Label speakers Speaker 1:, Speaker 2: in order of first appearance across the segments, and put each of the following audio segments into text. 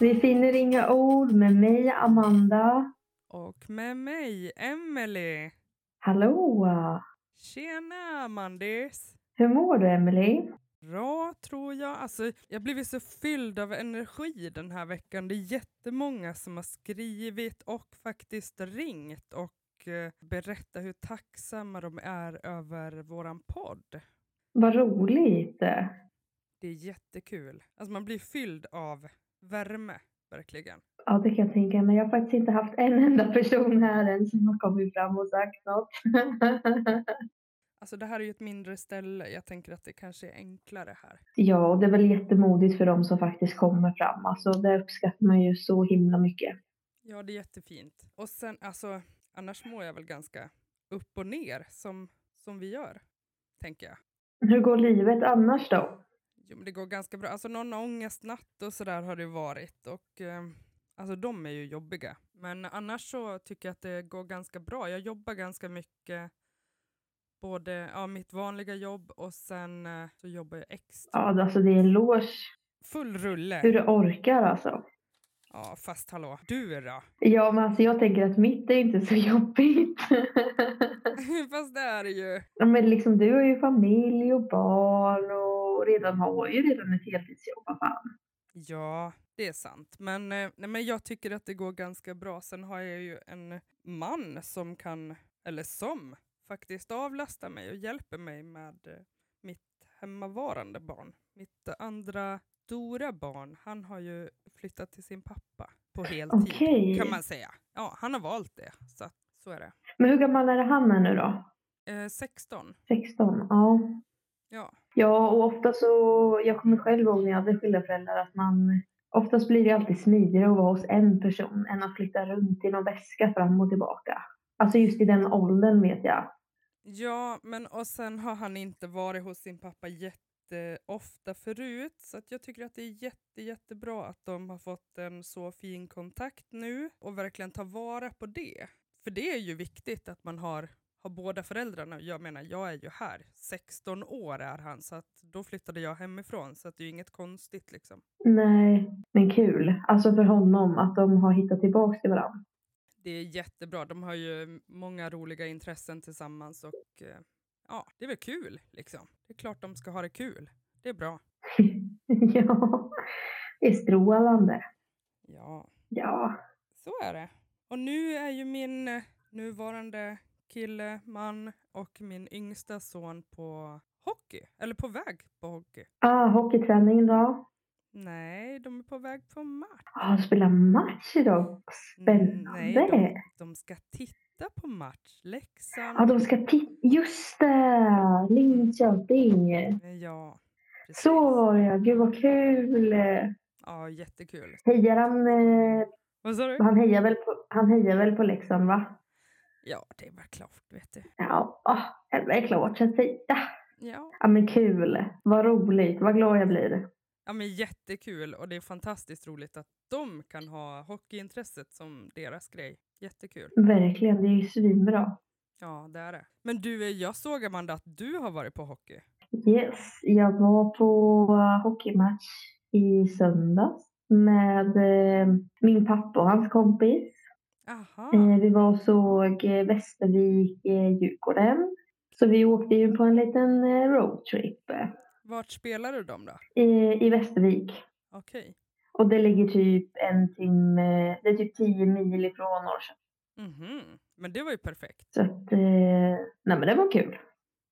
Speaker 1: Vi finner inga ord med mig, Amanda.
Speaker 2: Och med mig, Emelie.
Speaker 1: Hallå!
Speaker 2: Tjena, Amandis.
Speaker 1: Hur mår du, Emily?
Speaker 2: Bra, tror jag. Alltså, jag blev så fylld av energi den här veckan. Det är jättemånga som har skrivit och faktiskt ringt och eh, berättat hur tacksamma de är över våran podd.
Speaker 1: Vad roligt!
Speaker 2: Det är jättekul. Alltså, man blir fylld av värme, verkligen.
Speaker 1: Ja, det kan jag tänka mig. Jag har faktiskt inte haft en enda person här än som har kommit fram och sagt något.
Speaker 2: Alltså, det här är ju ett mindre ställe. Jag tänker att det kanske är enklare här.
Speaker 1: ja, och det är väl jättemodigt för dem som faktiskt kommer fram. Alltså, det uppskattar man ju så himla mycket.
Speaker 2: Ja, det är jättefint. Och sen, alltså, annars mår jag väl ganska upp och ner som, som vi gör, tänker jag.
Speaker 1: Hur går livet annars då?
Speaker 2: Jo, men det går ganska bra. Alltså någon ångestnatt och sådär har det varit och eh, alltså de är ju jobbiga. Men annars så tycker jag att det går ganska bra. Jag jobbar ganska mycket, både ja, mitt vanliga jobb och sen eh, så jobbar jag extra.
Speaker 1: Ja, alltså det är en loge.
Speaker 2: Full rulle.
Speaker 1: Hur du orkar alltså.
Speaker 2: Ja, fast hallå. Du då?
Speaker 1: Ja, men alltså jag tänker att mitt är inte så jobbigt.
Speaker 2: fast det är det ju.
Speaker 1: Ja, men liksom du har ju familj och barn och redan har ju redan ett heltidsjobb. vad Fan.
Speaker 2: Ja, det är sant. Men, eh, nej, men jag tycker att det går ganska bra. Sen har jag ju en man som kan, eller som faktiskt avlastar mig och hjälper mig med eh, mitt hemmavarande barn. Mitt andra stora barn, han har ju flyttat till sin pappa på heltid
Speaker 1: Okej.
Speaker 2: kan man säga. Ja, han har valt det. Så, att, så är det.
Speaker 1: Men hur gammal är han är nu då?
Speaker 2: Eh, 16.
Speaker 1: 16? Ja.
Speaker 2: Ja,
Speaker 1: Ja, och ofta så, jag kommer själv ihåg när jag hade skilda föräldrar att man Oftast blir det alltid smidigare att vara hos en person än att flytta runt i någon väska fram och tillbaka. Alltså just i den åldern vet jag.
Speaker 2: Ja, men och sen har han inte varit hos sin pappa jätteofta förut. Så att jag tycker att det är jätte, jättebra att de har fått en så fin kontakt nu och verkligen ta vara på det. För det är ju viktigt att man har, har båda föräldrarna. Jag menar, jag är ju här. 16 år är han, så att då flyttade jag hemifrån. Så att det är ju inget konstigt liksom.
Speaker 1: Nej, men kul. Alltså för honom att de har hittat tillbaks till varandra.
Speaker 2: Det är jättebra. De har ju många roliga intressen tillsammans och eh, ja, det är väl kul liksom. Det är klart de ska ha det kul. Det är bra.
Speaker 1: ja, det är strålande.
Speaker 2: Ja.
Speaker 1: Ja,
Speaker 2: Så är det. Och nu är ju min eh, nuvarande kille, man och min yngsta son på hockey. Eller på väg på hockey.
Speaker 1: Ah, hockeyträning idag.
Speaker 2: Nej, de är på väg på match.
Speaker 1: Ja, ah, spela match idag. Spännande.
Speaker 2: Mm, Nej, de, de ska titta på match. Leksand.
Speaker 1: Ja, de ska titta. Just det! Linköping.
Speaker 2: eh, Ja, precis.
Speaker 1: Så var det Gud vad kul.
Speaker 2: Ja, jättekul.
Speaker 1: Hejar han, eh,
Speaker 2: Vad sa du?
Speaker 1: han, hejar väl på, han hejar väl på Leksand va?
Speaker 2: Ja, det var klart, vet du.
Speaker 1: Ja, ah, det är klart. Så att säga.
Speaker 2: Ja.
Speaker 1: Ja, men kul. Vad roligt. Vad glad jag blir.
Speaker 2: ja, men jättekul. Och det är fantastiskt roligt att de kan ha hockeyintresset som deras grej. Jättekul.
Speaker 1: Verkligen, det är ju svinbra.
Speaker 2: Ja, det är det. Men du, eh, jag såg Amanda att du har varit på hockey.
Speaker 1: Yes, jag var på eh, hockeymatch i söndags med eh, min pappa och hans kompis.
Speaker 2: Aha,
Speaker 1: Eh, vi var och såg eh, Västervik, eh, Djurgården. Så vi åkte ju på en liten eh, roadtrip eh,
Speaker 2: vart spelade de då?
Speaker 1: i- i Västervik.
Speaker 2: Okej.
Speaker 1: Och det ligger typ en timme, det är typ 10 mil ifrån Norrköping.
Speaker 2: Mhm. Men det var ju perfekt.
Speaker 1: Så att, eh, nej men det var kul.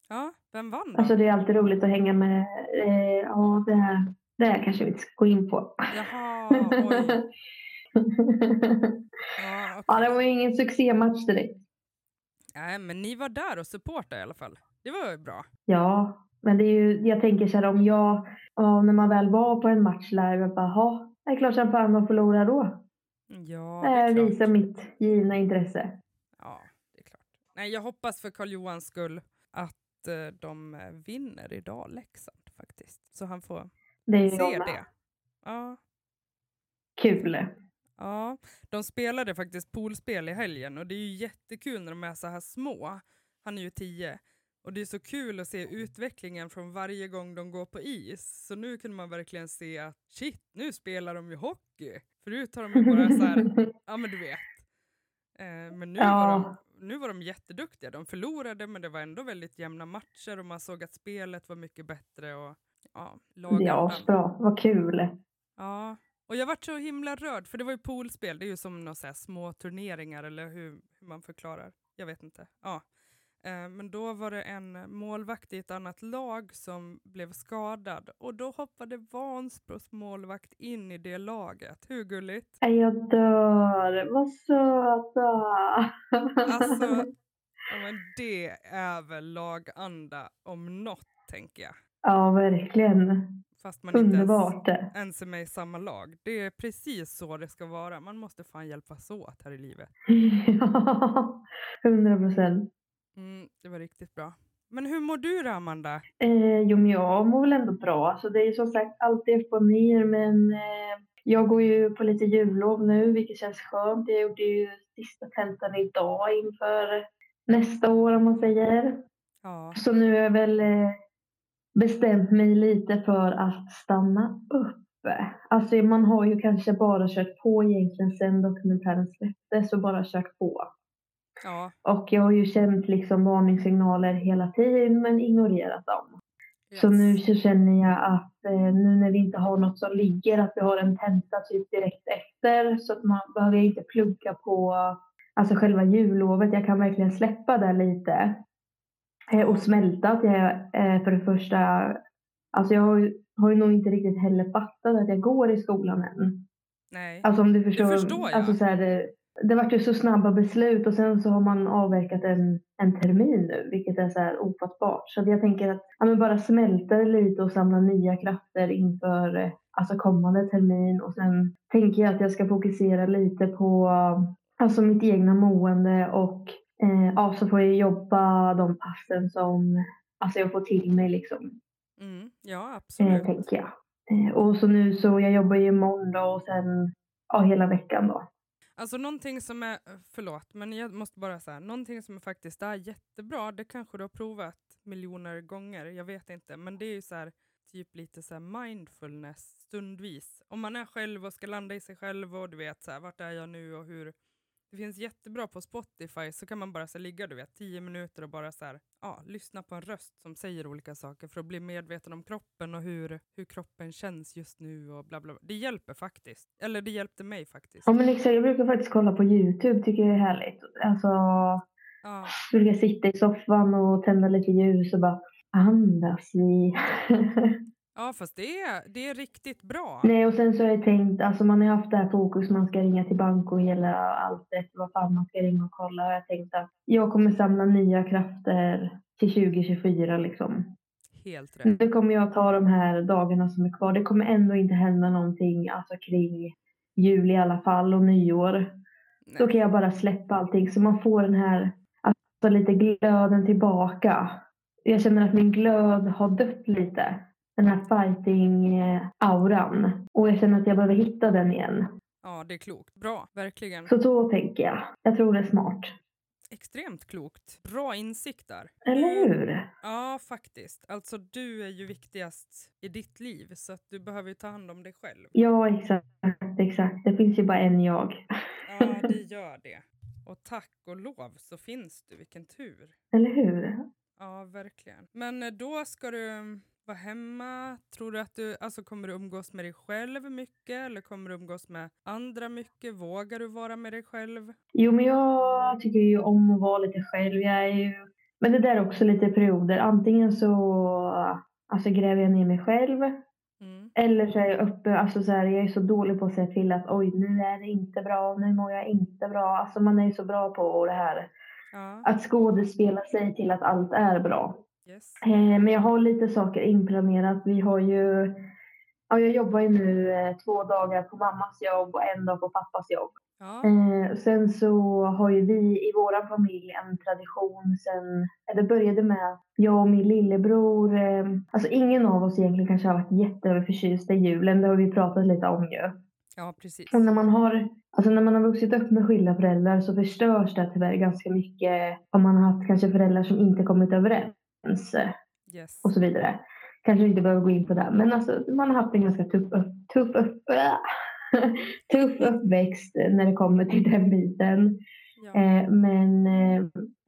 Speaker 2: Ja, vem vann då?
Speaker 1: Alltså det är alltid roligt att hänga med, eh, ja det här, det här kanske vi inte ska gå in på.
Speaker 2: Jaha, oj. Ja,
Speaker 1: ja,
Speaker 2: okej.
Speaker 1: det var ju ingen succématch direkt.
Speaker 2: Nej, men ni var där och supportade i alla fall. Det var ju bra.
Speaker 1: Ja, men det är ju, jag tänker så här om jag, ja, när man väl var på en match live, jag bara, "Ha, det är klart som fan de förlorar då.
Speaker 2: Ja, det
Speaker 1: Ja,
Speaker 2: är klart.
Speaker 1: visa mitt givna intresse.
Speaker 2: Ja, det är klart. Nej, jag hoppas för Karl Johans skull att eh, de eh, vinner idag, Leksand faktiskt. Så han får
Speaker 1: Det är ju
Speaker 2: se
Speaker 1: jag med.
Speaker 2: det. Ja.
Speaker 1: Kul.
Speaker 2: Ja, de spelade faktiskt poolspel i helgen och det är ju jättekul när de är så här små. Han är ju tio Och det är så kul att se utvecklingen från varje gång de går på is. Så nu kunde man verkligen se att shit, nu spelar de ju hockey. Förut har de ju bara så här, ja men du vet. Eh, men nu, var de,
Speaker 1: Ja.
Speaker 2: nu var de jätteduktiga. De förlorade men det var ändå väldigt jämna matcher och man såg att spelet var mycket bättre. Och, ja, lagen
Speaker 1: Ja,
Speaker 2: vann.
Speaker 1: bra. Vad kul.
Speaker 2: Ja, och jag vart så himla rörd för det var ju poolspel, det är ju som några så här små turneringar eller hur, hur man förklarar. Jag vet inte. Ja. Eh, Men då var det en målvakt i ett annat lag som blev skadad och då hoppade Vansbros målvakt in i det laget. Hur gulligt?
Speaker 1: Nej, Jag dör. Vad söta.
Speaker 2: Alltså, ja, men det är väl laganda om något, tänker jag.
Speaker 1: Ja, verkligen.
Speaker 2: Fast man inte ens,
Speaker 1: Underbart.
Speaker 2: ens är med i samma lag. Det är precis så det ska vara. Man måste fan hjälpas åt här i livet.
Speaker 1: Ja, hundra procent.
Speaker 2: Mm, det var riktigt bra. Men hur mår du då, Amanda?
Speaker 1: Eh, jo, men jag mår väl ändå bra. Alltså, det är ju som sagt alltid upp och ner, men eh, jag går ju på lite jullov nu, vilket känns skönt. Jag gjorde ju sista tentan idag inför nästa år, om man säger.
Speaker 2: Ja,
Speaker 1: Så nu är jag väl eh, bestämt mig lite för att stanna upp. Alltså man har ju kanske bara kört på egentligen sen dokumentären släpptes och bara kört på.
Speaker 2: ja,
Speaker 1: Och jag har ju känt liksom varningssignaler hela tiden men ignorerat dem. Så
Speaker 2: yes.
Speaker 1: nu så känner jag att eh, nu när vi inte har något som ligger att vi har en tenta typ direkt efter så att man behöver inte plugga på alltså själva jullovet. Jag kan verkligen släppa det lite. Eh, och smälta att jag eh, för det första, alltså jag har ju, har ju nog inte riktigt heller fattat att jag går i skolan än.
Speaker 2: Nej,
Speaker 1: Alltså om du förstår.
Speaker 2: förstår jag.
Speaker 1: Alltså så här, det, det vart ju så snabba beslut och sen så har man avverkat en, en termin nu, vilket är så här ofattbart. Så jag tänker att ja, men bara smälta det lite och samla nya krafter inför eh, alltså kommande termin och sen tänker jag att jag ska fokusera lite på alltså mitt egna mående och eh, ja, så får jag jobba de passen som alltså jag får till mig liksom
Speaker 2: mm, ja
Speaker 1: eh,
Speaker 2: absolut.
Speaker 1: tänker jag. Eh, och så nu så jag jobbar ju måndag och sen ja, hela veckan då.
Speaker 2: Alltså någonting som är, förlåt, men jag måste bara säga, någonting som är faktiskt är jättebra, det kanske du har provat miljoner gånger, jag vet inte, men det är ju så här typ lite så här mindfulness stundvis. Om man är själv och ska landa i sig själv och du vet så här, vart är jag nu och hur. Det finns jättebra på Spotify så kan man bara så här, ligga du vet tio minuter och bara så här, ja, lyssna på en röst som säger olika saker för att bli medveten om kroppen och hur, hur kroppen känns just nu och bla bla. bla. Det hjälper faktiskt. Eller det hjälpte mig faktiskt.
Speaker 1: Ja men exakt, jag brukar faktiskt kolla på Youtube, tycker jag är härligt. Alltså,
Speaker 2: Ja.
Speaker 1: jag brukar sitta i soffan och tända lite ljus och bara andas vi.
Speaker 2: Ja, fast det är, det är riktigt bra.
Speaker 1: Nej och sen så har jag tänkt, alltså man har haft det här fokus, man ska ringa till bank och hela allt det, vad fan man ska ringa och kolla. Och jag har tänkt att jag kommer samla nya krafter till 2024 liksom.
Speaker 2: Helt rätt.
Speaker 1: Nu kommer jag ta de här dagarna som är kvar. Det kommer ändå inte hända någonting alltså kring jul i alla fall och nyår. Då
Speaker 2: Nej.
Speaker 1: kan jag bara släppa allting så man får den här alltså lite glöden tillbaka. Jag känner att min glöd har dött lite. Den här fighting-auran. Och jag känner att jag behöver hitta den igen.
Speaker 2: Ja, det är klokt. Bra, verkligen.
Speaker 1: Så då tänker jag. Jag tror det är smart.
Speaker 2: Extremt klokt. Bra insikt där.
Speaker 1: Eller hur?
Speaker 2: Ja, faktiskt. Alltså, du är ju viktigast i ditt liv, så att du behöver ju ta hand om dig själv.
Speaker 1: Ja, exakt. Exakt. Det finns ju bara en jag.
Speaker 2: Ja, det gör det. Och tack och lov så finns du. Vilken tur.
Speaker 1: Eller hur?
Speaker 2: Ja, verkligen. Men eh, då ska du mm, vara hemma. Tror du att du, alltså kommer du umgås med dig själv mycket eller kommer du umgås med andra mycket? Vågar du vara med dig själv?
Speaker 1: Jo, men jag tycker ju om att vara lite själv. Jag är ju... Men det där är också lite perioder. Antingen så alltså, gräver jag ner mig själv
Speaker 2: Mm.
Speaker 1: eller så är jag uppe. Alltså, så här, jag är så dålig på att säga till att oj, nu är det inte bra, nu mår jag inte bra. Alltså, man är ju så bra på det här
Speaker 2: Ja,
Speaker 1: att skådespela sig till att allt är bra.
Speaker 2: yes.
Speaker 1: Eh, men jag har lite saker inplanerat. Vi har ju... Ja, jag jobbar ju nu eh, två dagar på mammas jobb och en dag på pappas jobb.
Speaker 2: Ja,
Speaker 1: Eh, sen så har ju vi i vår familj en tradition sen, eh, det började med att jag och min lillebror, eh, alltså ingen av oss egentligen kanske har varit jätteöverförtjust i julen, det har vi pratat lite om ju.
Speaker 2: ja precis.
Speaker 1: Och när man har, alltså när man har vuxit upp med skilda föräldrar så förstörs det tyvärr ganska mycket om man har haft kanske föräldrar som inte kommit överens. ens eh,
Speaker 2: Yes.
Speaker 1: och så vidare. Kanske inte behöver gå in på det, men alltså, man har haft en ganska tuff, upp, tuff, upp, tuff uppväxt när det kommer till den biten.
Speaker 2: Ja.
Speaker 1: Eh, men, eh,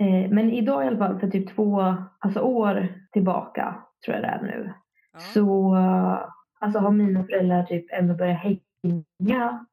Speaker 1: eh, men idag i alla fall, för typ två alltså år tillbaka tror jag det är nu,
Speaker 2: Ja.
Speaker 1: så eh, alltså, har mina föräldrar typ ändå börjat hänga.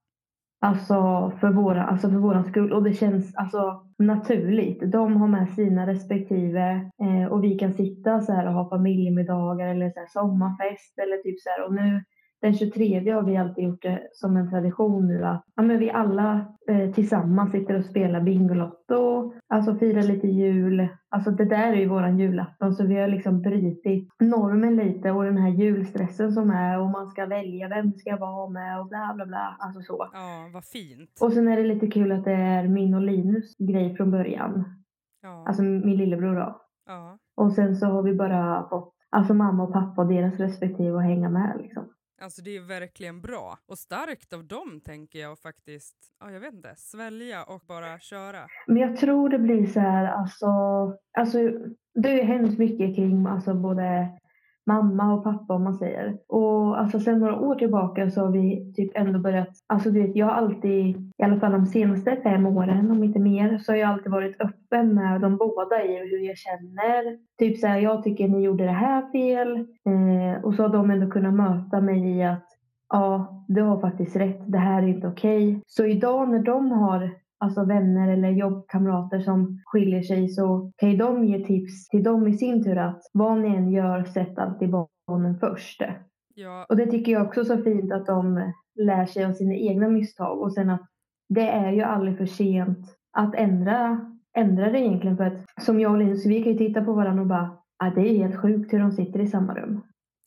Speaker 1: Alltså för, våra, alltså för våran skull. Och det känns alltså naturligt. De har med sina respektive eh, och vi kan sitta så här och ha familjemiddagar eller så här sommarfest eller typ så här. Och nu den 23 har vi alltid gjort det som en tradition nu att ja, men vi alla eh, tillsammans sitter och spelar Bingolotto, alltså firar lite jul. Alltså det där är ju våran julafton så vi har liksom brutit normen lite och den här julstressen som är och man ska välja vem ska jag vara med och bla bla bla. Alltså så.
Speaker 2: ja, vad fint.
Speaker 1: Och sen är det lite kul att det är min och Linus grej från början.
Speaker 2: Ja.
Speaker 1: Alltså min lillebror då.
Speaker 2: Ja.
Speaker 1: Och sen så har vi bara fått alltså mamma och pappa och deras respektive att hänga med liksom.
Speaker 2: Alltså det är verkligen bra och starkt av dem tänker jag faktiskt, ja jag vet inte, svälja och bara köra.
Speaker 1: Men jag tror det blir så här, alltså, alltså det har ju hänt mycket kring alltså, både mamma och pappa om man säger. Och alltså sen några år tillbaka så har vi typ ändå börjat, alltså du vet jag har alltid, i alla fall de senaste fem åren om inte mer, så har jag alltid varit öppen med de båda i hur jag känner. Typ så här, jag tycker ni gjorde det här fel. Eh, och så har de ändå kunnat möta mig i att ja, du har faktiskt rätt, det här är inte okej. Så idag när de har alltså vänner eller jobbkamrater som skiljer sig så kan ju de ge tips till dem i sin tur att vad ni än gör, sätt alltid barnen först.
Speaker 2: Ja,
Speaker 1: Och det tycker jag också är så fint att de lär sig av sina egna misstag och sen att det är ju aldrig för sent att ändra, ändra det egentligen för att som jag och Linus, vi kan ju titta på varandra och bara ah, det är helt sjukt hur de sitter i samma rum.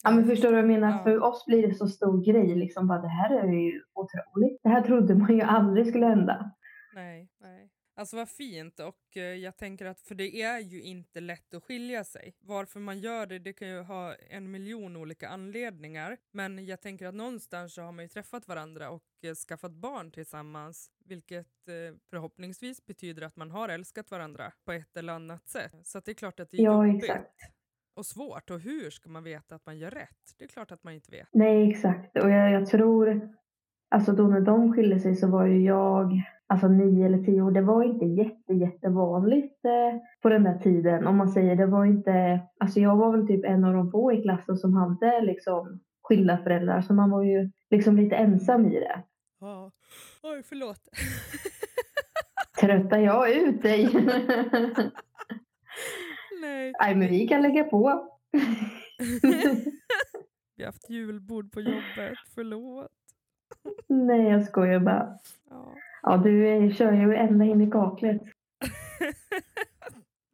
Speaker 1: Ja men förstår du vad jag menar?
Speaker 2: Ja.
Speaker 1: För oss blir det så stor grej liksom bara det här är ju otroligt. Det här trodde man ju aldrig skulle hända.
Speaker 2: nej, nej. Alltså vad fint och eh, jag tänker att för det är ju inte lätt att skilja sig. Varför man gör det, det kan ju ha en miljon olika anledningar. Men jag tänker att någonstans så har man ju träffat varandra och eh, skaffat barn tillsammans. Vilket eh, förhoppningsvis betyder att man har älskat varandra på ett eller annat sätt. Så att det är klart att det är
Speaker 1: Ja
Speaker 2: jobbigt.
Speaker 1: exakt.
Speaker 2: och svårt. Och hur ska man veta att man gör rätt? Det är klart att man inte vet.
Speaker 1: Nej, exakt. Och jag, jag tror, alltså då när de skilde sig så var ju jag, alltså nio eller tio år, det var inte jätte, jättevanligt eh, på den där tiden. Om man säger, det var inte, alltså jag var väl typ en av de få i klassen som hade liksom skilda föräldrar, så man var ju liksom lite ensam i det.
Speaker 2: Ja. Oj, förlåt.
Speaker 1: Tröttar jag ut dig?
Speaker 2: Nej.
Speaker 1: Nej, men vi kan lägga på.
Speaker 2: Vi har haft julbord på jobbet. Förlåt.
Speaker 1: Nej, jag skojar bara.
Speaker 2: Ja.
Speaker 1: Ja, du eh, kör ju ända in i kaklet.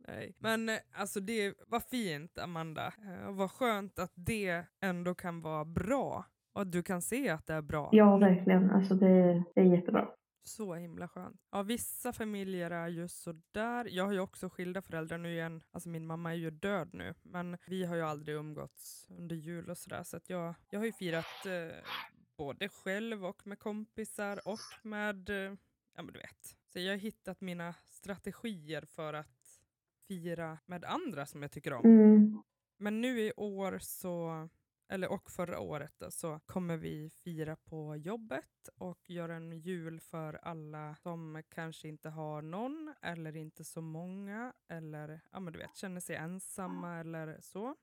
Speaker 2: Nej. Men eh, alltså det var fint Amanda. Eh, och Vad skönt att det ändå kan vara bra. Och att du kan se att det är bra.
Speaker 1: Ja, verkligen. Alltså det, det är jättebra.
Speaker 2: Så himla skönt. Ja, vissa familjer är ju sådär. Jag har ju också skilda föräldrar nu igen. Alltså min mamma är ju död nu, men vi har ju aldrig umgåtts under jul och sådär. Så att jag, jag har ju firat eh, både själv och med kompisar och med, eh, ja men du vet. Så jag har hittat mina strategier för att fira med andra som jag tycker om.
Speaker 1: Mm.
Speaker 2: Men nu i år så, eller och förra året då, så kommer vi fira på jobbet och göra en jul för alla som kanske inte har någon eller inte så många eller ja men du vet känner sig ensamma eller så.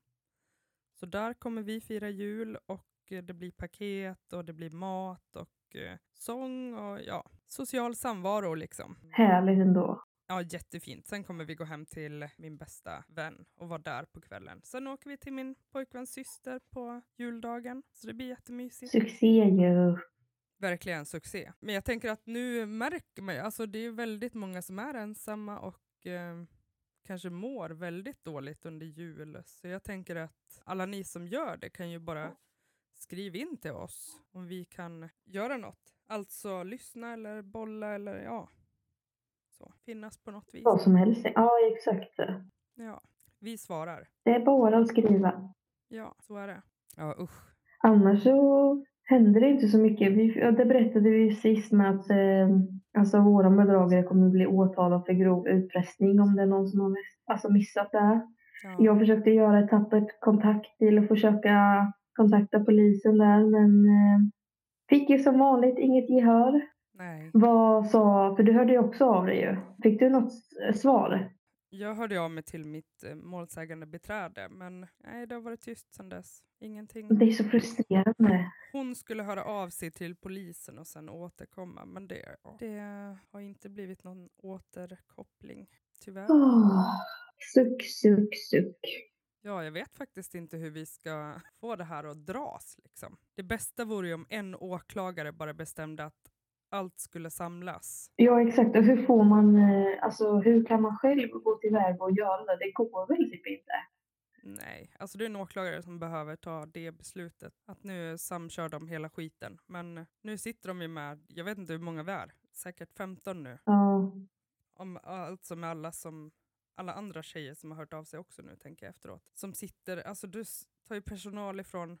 Speaker 2: Så där kommer vi fira jul och eh, det blir paket och det blir mat och eh, sång och ja, social samvaro liksom.
Speaker 1: Härligt ändå.
Speaker 2: Ja, jättefint. Sen kommer vi gå hem till min bästa vän och vara där på kvällen. Sen åker vi till min pojkväns syster på juldagen. Så det blir jättemysigt.
Speaker 1: Succé ju.
Speaker 2: Verkligen succé. Men jag tänker att nu märker man ju, alltså det är väldigt många som är ensamma och eh, kanske mår väldigt dåligt under jul. Så jag tänker att alla ni som gör det kan ju bara skriva in till oss om vi kan göra något. Alltså lyssna eller bolla eller ja, så finnas på något vis.
Speaker 1: Vad som helst. Ja, exakt.
Speaker 2: Ja, vi svarar.
Speaker 1: Det är bara att skriva.
Speaker 2: Ja, så är det. Ja, usch.
Speaker 1: Annars så händer det inte så mycket. Vi, ja, det berättade vi ju sist med att eh, alltså våra bedragare kommer bli åtalade för grov utpressning om det är någon som har miss, alltså missat det. här.
Speaker 2: Ja.
Speaker 1: Jag försökte göra ett tappert kontakt till att försöka kontakta polisen där men eh, fick ju som vanligt inget gehör.
Speaker 2: Nej.
Speaker 1: Vad sa, för du hörde ju också av dig ju. Fick du något s- svar?
Speaker 2: Jag hörde av mig till mitt eh, målsägande beträde, men nej, det har varit tyst sedan dess. Ingenting.
Speaker 1: Det är så frustrerande.
Speaker 2: Hon skulle höra av sig till polisen och sen återkomma, men det, ja, det har inte blivit någon återkoppling, tyvärr.
Speaker 1: Åh, suck, suck, suck.
Speaker 2: Ja, jag vet faktiskt inte hur vi ska få det här att dras. Liksom. Det bästa vore ju om en åklagare bara bestämde att allt skulle samlas.
Speaker 1: Ja exakt, och hur får man, eh, alltså hur kan man själv gå tillväga och göra det? Det går väl typ inte.
Speaker 2: Nej, alltså det är en åklagare som behöver ta det beslutet. Att nu samkör de hela skiten. Men nu sitter de ju med, jag vet inte hur många vi är, säkert 15 nu.
Speaker 1: Ja,
Speaker 2: Om, alltså med alla, som, alla andra tjejer som har hört av sig också nu, tänker jag efteråt. Som sitter, alltså du s- tar ju personal ifrån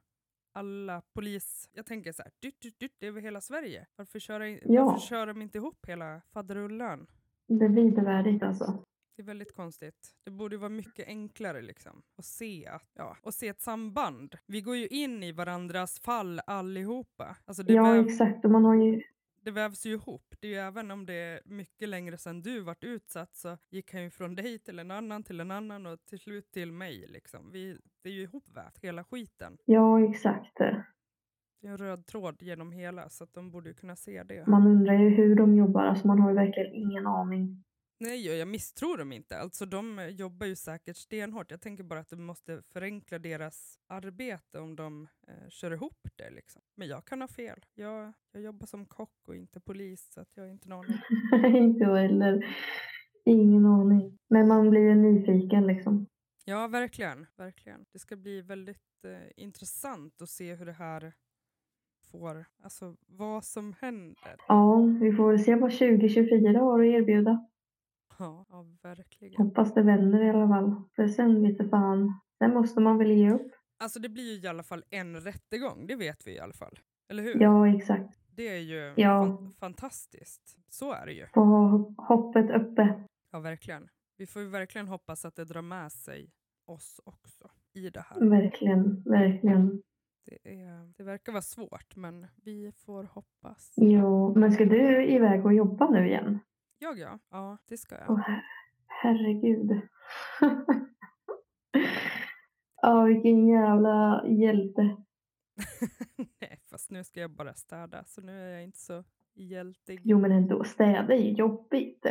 Speaker 2: alla polis... Jag tänker så här, dyrt, dyrt, dyrt, det är över hela Sverige. Varför kör, i-
Speaker 1: Ja.
Speaker 2: varför kör de inte ihop hela faderullan?
Speaker 1: det är vidervärdigt alltså.
Speaker 2: Det är väldigt konstigt. Det borde ju vara mycket enklare liksom att se, att, ja, att se ett samband. Vi går ju in i varandras fall allihopa. Alltså det,
Speaker 1: Ja
Speaker 2: väv,
Speaker 1: exakt, och man har ju,
Speaker 2: det vävs ju ihop. Det är ju även om det är mycket längre sedan du vart utsatt så gick han ju från dig till en annan, till en annan och till slut till mig. Liksom. Vi, det är ju ihopvävt, hela skiten.
Speaker 1: ja exakt.
Speaker 2: Det är en röd tråd genom hela så att de borde ju kunna se det.
Speaker 1: Man undrar ju hur de jobbar, alltså man har ju verkligen ingen aning.
Speaker 2: Nej, och jag misstror dem inte. Alltså, de eh, jobbar ju säkert stenhårt. Jag tänker bara att det måste förenkla deras arbete om de eh, kör ihop det. Liksom. Men jag kan ha fel. Jag, jag jobbar som kock och inte polis, så att jag har inte en aning.
Speaker 1: inte jag heller. Ingen aning. Men man blir ju nyfiken liksom.
Speaker 2: Ja, verkligen. verkligen. Det ska bli väldigt eh, intressant att se hur det här får... Alltså, vad som händer.
Speaker 1: Ja, vi får väl se vad 2024 har att erbjuda.
Speaker 2: Ja, ja verkligen.
Speaker 1: Hoppas det vänder i alla fall. För sen lite fan, sen måste man väl ge upp.
Speaker 2: Alltså, det blir ju i alla fall en rättegång. Det vet vi i alla fall. Eller hur?
Speaker 1: Ja, exakt.
Speaker 2: Det är ju
Speaker 1: Ja.
Speaker 2: fan- fantastiskt. Så är det ju.
Speaker 1: Få ha hoppet uppe.
Speaker 2: Ja, verkligen. Vi får ju verkligen hoppas att det drar med sig oss också i det
Speaker 1: Mm.
Speaker 2: här.
Speaker 1: Verkligen, verkligen.
Speaker 2: Det, är, det verkar vara svårt, men vi får hoppas.
Speaker 1: Jo, men ska du iväg och jobba nu igen?
Speaker 2: Jag ja. Ja, det ska
Speaker 1: Åh,
Speaker 2: jag.
Speaker 1: her- herregud. Ja, vilken jävla hjälte.
Speaker 2: Nej, fast nu ska jag bara städa, så nu är jag inte så hjältig.
Speaker 1: Jo, men ändå, städa är ju jobbigt.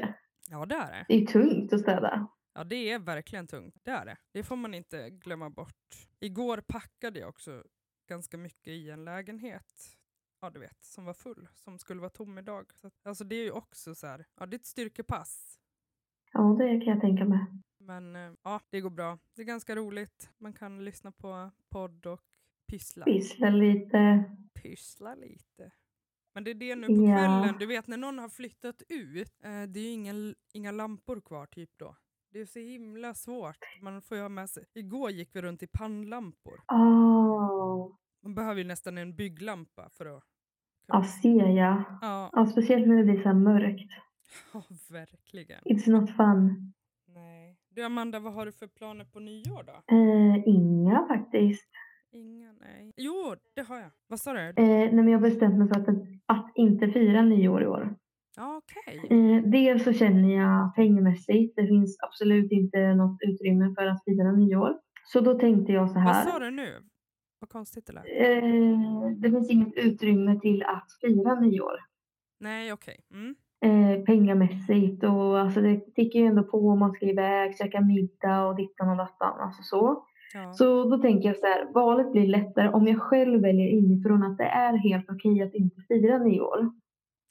Speaker 2: Ja, det är det.
Speaker 1: Det är ju tungt att städa.
Speaker 2: Ja, det är verkligen tungt. Det är det. Det får man inte glömma bort. Igår packade jag också ganska mycket i en lägenhet. Ja, du vet, som var full, som skulle vara tom idag. Så, att- alltså det är ju också så här, ja det är ett styrkepass.
Speaker 1: Ja, det kan jag tänka mig.
Speaker 2: Men eh, ja, det går bra. Det är ganska roligt. Man kan lyssna på podd och pyssla.
Speaker 1: Pyssla lite.
Speaker 2: Pyssla lite. Men det är det nu på
Speaker 1: Ja.
Speaker 2: kvällen. Du vet när någon har flyttat ut, eh, det är ju ingen, inga lampor kvar typ då. Det är så himla svårt. Man får ju ha med sig. Igår gick vi runt i pannlampor.
Speaker 1: Åh,
Speaker 2: Man behöver ju nästan en bygglampa för att...
Speaker 1: ja, ser jag.
Speaker 2: Ja,
Speaker 1: Ja, speciellt när det blir så här mörkt.
Speaker 2: ja, verkligen.
Speaker 1: It's not fun.
Speaker 2: Nej. Du Amanda, vad har du för planer på nyår då?
Speaker 1: Eh, inga faktiskt.
Speaker 2: Inga, nej. Jo, det har jag. Vad sa du?
Speaker 1: Eh, nej, men jag har bestämt mig för att, att inte fira nyår i år.
Speaker 2: Ja, okej.
Speaker 1: Eh, dels så känner jag pengamässigt, det finns absolut inte något utrymme för att fira nyår. Så då tänkte jag så
Speaker 2: Vad
Speaker 1: här.
Speaker 2: sa du nu? Vad konstigt det lät.
Speaker 1: Eh, det finns inget utrymme till att fira nyår.
Speaker 2: Nej, okej. Mm.
Speaker 1: Eh, pengamässigt och alltså det tickar ju ändå på om man ska iväg, käka middag och dittan och dattan. Alltså så.
Speaker 2: Ja.
Speaker 1: Så då tänker jag så här, valet blir lättare om jag själv väljer inifrån att det är helt okej att inte fira nyår.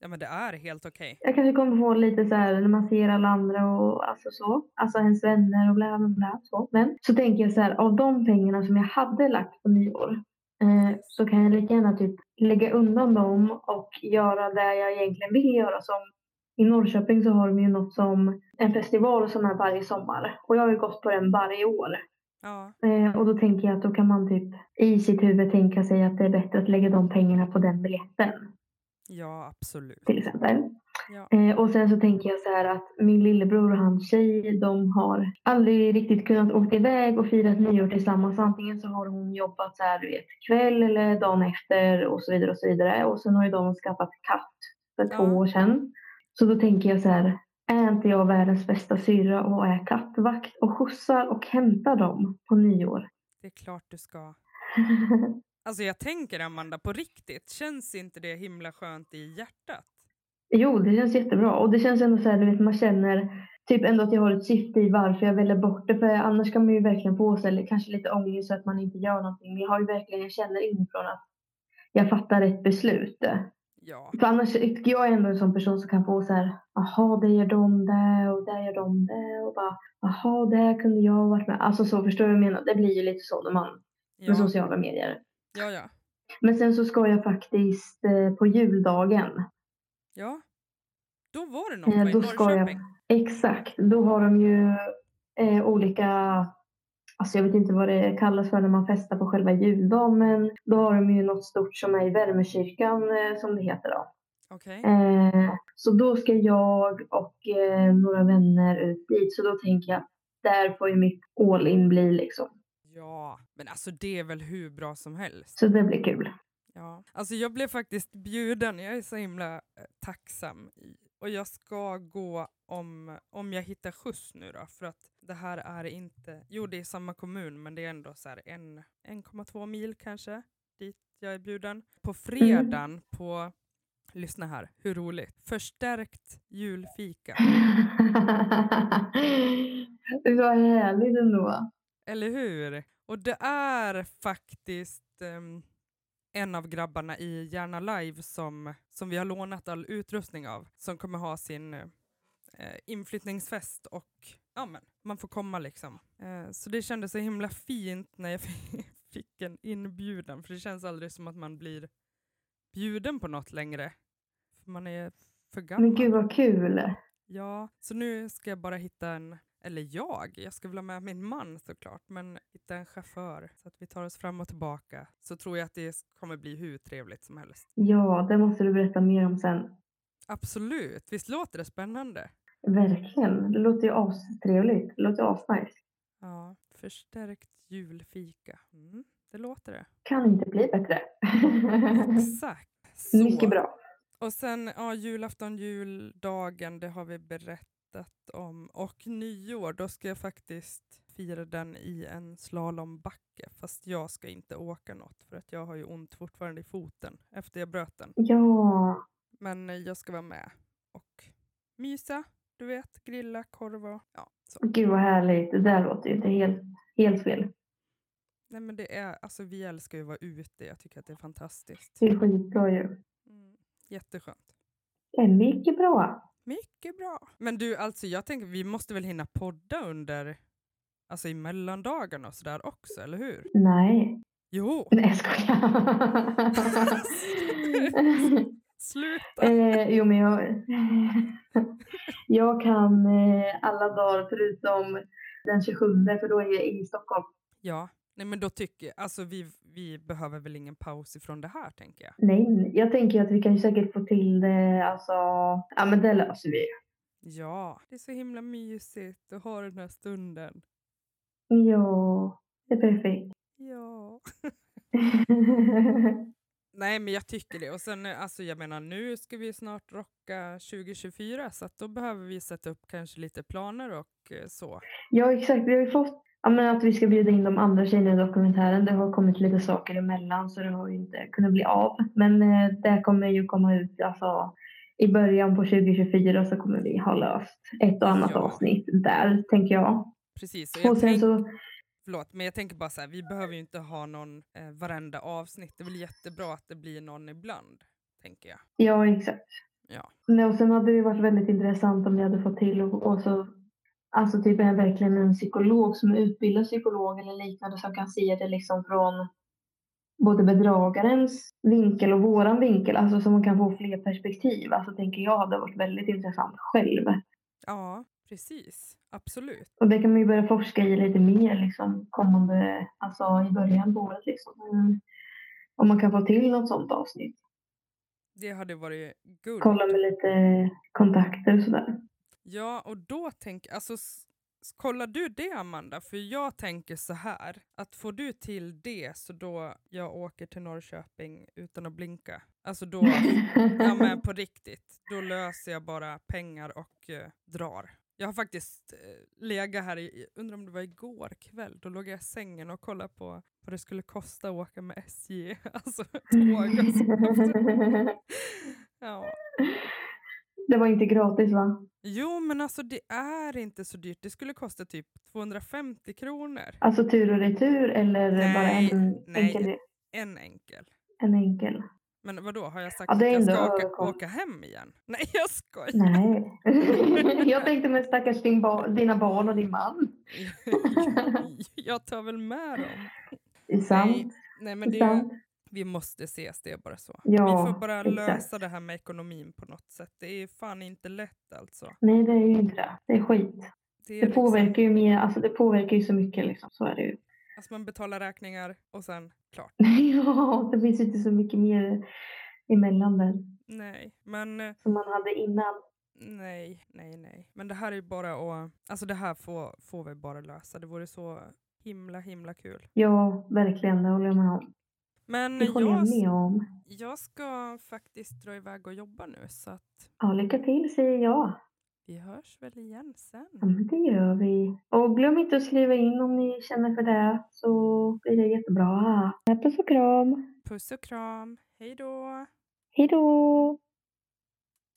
Speaker 2: ja, men det är helt okej.
Speaker 1: Jag kanske kommer få lite så här när man ser alla andra och alltså så. Alltså ens vänner och bla bla bla. Så. Men så tänker jag så här av de pengarna som jag hade lagt på nyår. Eh, så kan jag lika gärna typ lägga undan dem och göra det jag egentligen vill göra. Som i Norrköping så har de ju något som en festival som är varje sommar. Och jag har ju gått på den varje år.
Speaker 2: Ja.
Speaker 1: Eh, och då tänker jag att då kan man typ i sitt huvud tänka sig att det är bättre att lägga de pengarna på den biljetten
Speaker 2: ja, absolut.
Speaker 1: till exempel.
Speaker 2: Ja.
Speaker 1: Eh, och sen så tänker jag så här att min lillebror och hans tjej, de har aldrig riktigt kunnat åka iväg och fira ett nyår tillsammans. Antingen så har hon jobbat så här, du vet, kväll eller dagen efter och så vidare och så vidare. Och sen har ju de skaffat katt för två
Speaker 2: Ja.
Speaker 1: år sedan. Så då tänker jag så här, är inte jag världens bästa syrra och är kattvakt och skjutsar och hämtar dem på nyår?
Speaker 2: Det är klart du ska. Alltså jag tänker Amanda, på riktigt, känns inte det himla skönt i hjärtat?
Speaker 1: Jo, det känns jättebra. Och det känns ändå så här, du vet, man känner typ ändå att jag har ett syfte i varför jag väljer bort det. För annars kan man ju verkligen få sig, eller kanske lite ångest så att man inte gör någonting. Men jag har ju verkligen, jag känner inifrån att jag fattar rätt beslut.
Speaker 2: Ja,
Speaker 1: För annars, jag är ändå en sån person som kan få så här, jaha, det gör de det och där gör de det. Och bara, jaha, där kunde jag ha varit med. Alltså så, förstår du vad jag menar? Det blir ju lite så när man, med
Speaker 2: ja,
Speaker 1: sociala medier.
Speaker 2: ja, ja.
Speaker 1: Men sen så ska jag faktiskt eh, på juldagen
Speaker 2: ja. Då var det något
Speaker 1: Eh,
Speaker 2: va, i
Speaker 1: då ska jag-
Speaker 2: Norrköping.
Speaker 1: Exakt, då har de ju eh, olika, alltså jag vet inte vad det kallas för när man festar på själva juldagen, men då har de ju något stort som är i värmekyrkan eh, som det heter då.
Speaker 2: Okej,
Speaker 1: Eh, så då ska jag och eh, några vänner ut dit, så då tänker jag där får ju mitt all in bli liksom.
Speaker 2: ja. Men alltså det är väl hur bra som helst?
Speaker 1: Så det blir kul.
Speaker 2: Ja. Alltså jag blev faktiskt bjuden, jag är så himla eh, tacksam. i- Och jag ska gå om, om jag hittar skjuts nu då, för att det här är inte, jo det är samma kommun men det är ändå så här en- 1,2 mil kanske dit jag är bjuden. På fredagen på, lyssna här, hur roligt, förstärkt julfika.
Speaker 1: Vad härligt ändå.
Speaker 2: Eller hur? Och det är faktiskt ehm, en av grabbarna i Gärna Live som, som vi har lånat all utrustning av som kommer ha sin eh, inflyttningsfest och ja, men, man får komma liksom. Eh, så det kändes så himla fint när jag fick en inbjudan för det känns aldrig som att man blir bjuden på något längre. För man är för gammal.
Speaker 1: Men gud vad kul.
Speaker 2: Ja, så nu ska jag bara hitta en, eller jag, jag ska väl ha med min man såklart, men hitta en chaufför så att vi tar oss fram och tillbaka. Så tror jag att det kommer bli hur trevligt som helst.
Speaker 1: Ja, det måste du berätta mer om sen.
Speaker 2: Absolut, visst låter det spännande?
Speaker 1: Verkligen. Det låter ju astrevligt. Det låter ju asnice.
Speaker 2: Ja, förstärkt julfika. Mm, det låter det.
Speaker 1: Kan inte bli bättre.
Speaker 2: Exakt. Så.
Speaker 1: Mycket bra.
Speaker 2: Och sen ja, julafton, juldagen, det har vi berättat om. Och nyår, då ska jag faktiskt fira den i en slalombacke. Fast jag ska inte åka något för att jag har ju ont fortfarande i foten efter jag bröt den.
Speaker 1: Ja,
Speaker 2: Men eh, jag ska vara med och mysa, du vet, grilla, korv och ja, så.
Speaker 1: gud vad härligt. Det där låter ju inte helt, helt fel.
Speaker 2: Nej men det är, alltså vi älskar ju att vara ute, jag tycker att det är fantastiskt.
Speaker 1: Det är skitbra ju.
Speaker 2: Mm, jätteskönt.
Speaker 1: Det är mycket bra.
Speaker 2: Mycket bra. Men du, alltså jag tänker vi måste väl hinna podda under, alltså i mellandagarna och sådär också, eller hur?
Speaker 1: Nej.
Speaker 2: Jo,
Speaker 1: Nej, jag skojar.
Speaker 2: sluta!
Speaker 1: eh, jo, men jag... jag kan eh, alla dagar förutom den 27 för då är jag i Stockholm.
Speaker 2: Ja, nej men då tycker jag, alltså vi, vi behöver väl ingen paus ifrån det här tänker jag.
Speaker 1: Nej, jag tänker att vi kan ju säkert få till det. Alltså, ja men det löser vi.
Speaker 2: Ja, det är så himla mysigt att ha den här stunden.
Speaker 1: Ja, det är perfekt.
Speaker 2: Ja. Nej men jag tycker det. Och sen eh, alltså jag menar nu ska vi snart rocka 2024 så att då behöver vi sätta upp kanske lite planer och eh, så.
Speaker 1: ja, exakt. Vi har ju fått ja, men att vi ska bjuda in de andra tjejerna i dokumentären. Det har kommit lite saker emellan så det har ju inte kunnat bli av. Men eh, det kommer ju komma ut alltså, i början på 2024 så kommer vi ha löst ett och annat
Speaker 2: Ja.
Speaker 1: avsnitt där, tänker jag.
Speaker 2: Precis. Och
Speaker 1: Och
Speaker 2: jag
Speaker 1: sen
Speaker 2: tänk,
Speaker 1: så,
Speaker 2: Förlåt, men jag tänker bara så här, vi behöver ju inte ha någon eh, varenda avsnitt. Det är väl jättebra att det blir någon ibland, tänker jag.
Speaker 1: ja exakt.
Speaker 2: Ja.
Speaker 1: Nej, och sen hade det varit väldigt intressant om vi hade fått till och, och så Alltså typ är verkligen en psykolog som är utbildad psykolog eller liknande som kan se det liksom från både bedragarens vinkel och våran vinkel. Alltså så man kan få fler perspektiv. Alltså tänker jag hade varit väldigt intressant själv.
Speaker 2: Ja, precis. Absolut.
Speaker 1: Och det kan man ju börja forska i lite mer liksom kommande, alltså i början på året liksom. Mm. Om man kan få till något sånt avsnitt.
Speaker 2: Det hade varit guld.
Speaker 1: Kolla med lite kontakter och sådär.
Speaker 2: Ja, och då tänker alltså s- s- kollar du det Amanda? För jag tänker så här, att får du till det så då jag åker till Norrköping utan att blinka. Alltså då, ja men på riktigt, då löser jag bara pengar och eh, drar. Jag har faktiskt eh, legat här, i, undrar om det var igår kväll, då låg jag i sängen och kollade på vad det skulle kosta att åka med SJ, alltså tåg och sånt. Ja.
Speaker 1: Mm. det var inte gratis va?
Speaker 2: Jo, men alltså det är inte så dyrt. Det skulle kosta typ 250 kronor.
Speaker 1: Alltså tur och retur eller
Speaker 2: Nej,
Speaker 1: bara en
Speaker 2: nej.
Speaker 1: enkel?
Speaker 2: En enkel.
Speaker 1: En enkel.
Speaker 2: Men vad då har jag sagt
Speaker 1: Ja,
Speaker 2: att
Speaker 1: det är
Speaker 2: jag
Speaker 1: ändå
Speaker 2: ska åka,
Speaker 1: överkom-
Speaker 2: åka hem igen? Nej, jag skojar.
Speaker 1: Nej. jag tänkte med stackars din bar- dina barn och din man.
Speaker 2: jag tar väl med dem.
Speaker 1: Det är sant.
Speaker 2: Nej,
Speaker 1: Det
Speaker 2: men
Speaker 1: är
Speaker 2: det,
Speaker 1: sant.
Speaker 2: vi måste ses, det är bara så.
Speaker 1: Ja,
Speaker 2: vi får bara
Speaker 1: exakt.
Speaker 2: lösa det här med ekonomin på något sätt. Det är fan inte lätt alltså.
Speaker 1: Nej, det är ju inte det. Det är skit.
Speaker 2: Det, är
Speaker 1: Det påverkar ju mer, alltså det påverkar ju så mycket liksom. Så är det ju.
Speaker 2: Liksom, alltså man betalar räkningar och sen klart.
Speaker 1: ja, det finns ju inte så mycket mer emellan där
Speaker 2: Nej, men eh,
Speaker 1: som man hade innan.
Speaker 2: Nej, nej, nej. Men det här är ju bara att... Alltså det här får, får vi bara lösa. Det vore så himla, himla kul.
Speaker 1: Ja, verkligen. Det håller jag med om.
Speaker 2: Men
Speaker 1: Det håller
Speaker 2: jag,
Speaker 1: jag med om.
Speaker 2: jag ska faktiskt dra iväg och jobba nu så att
Speaker 1: Ja, lycka till säger jag.
Speaker 2: vi hörs väl igen
Speaker 1: Ja,
Speaker 2: sen.
Speaker 1: men det gör vi. Och glöm inte att skriva in om ni känner för det så blir det jättebra. Puss och kram.
Speaker 2: Puss och kram. Hej då!
Speaker 1: Hej då!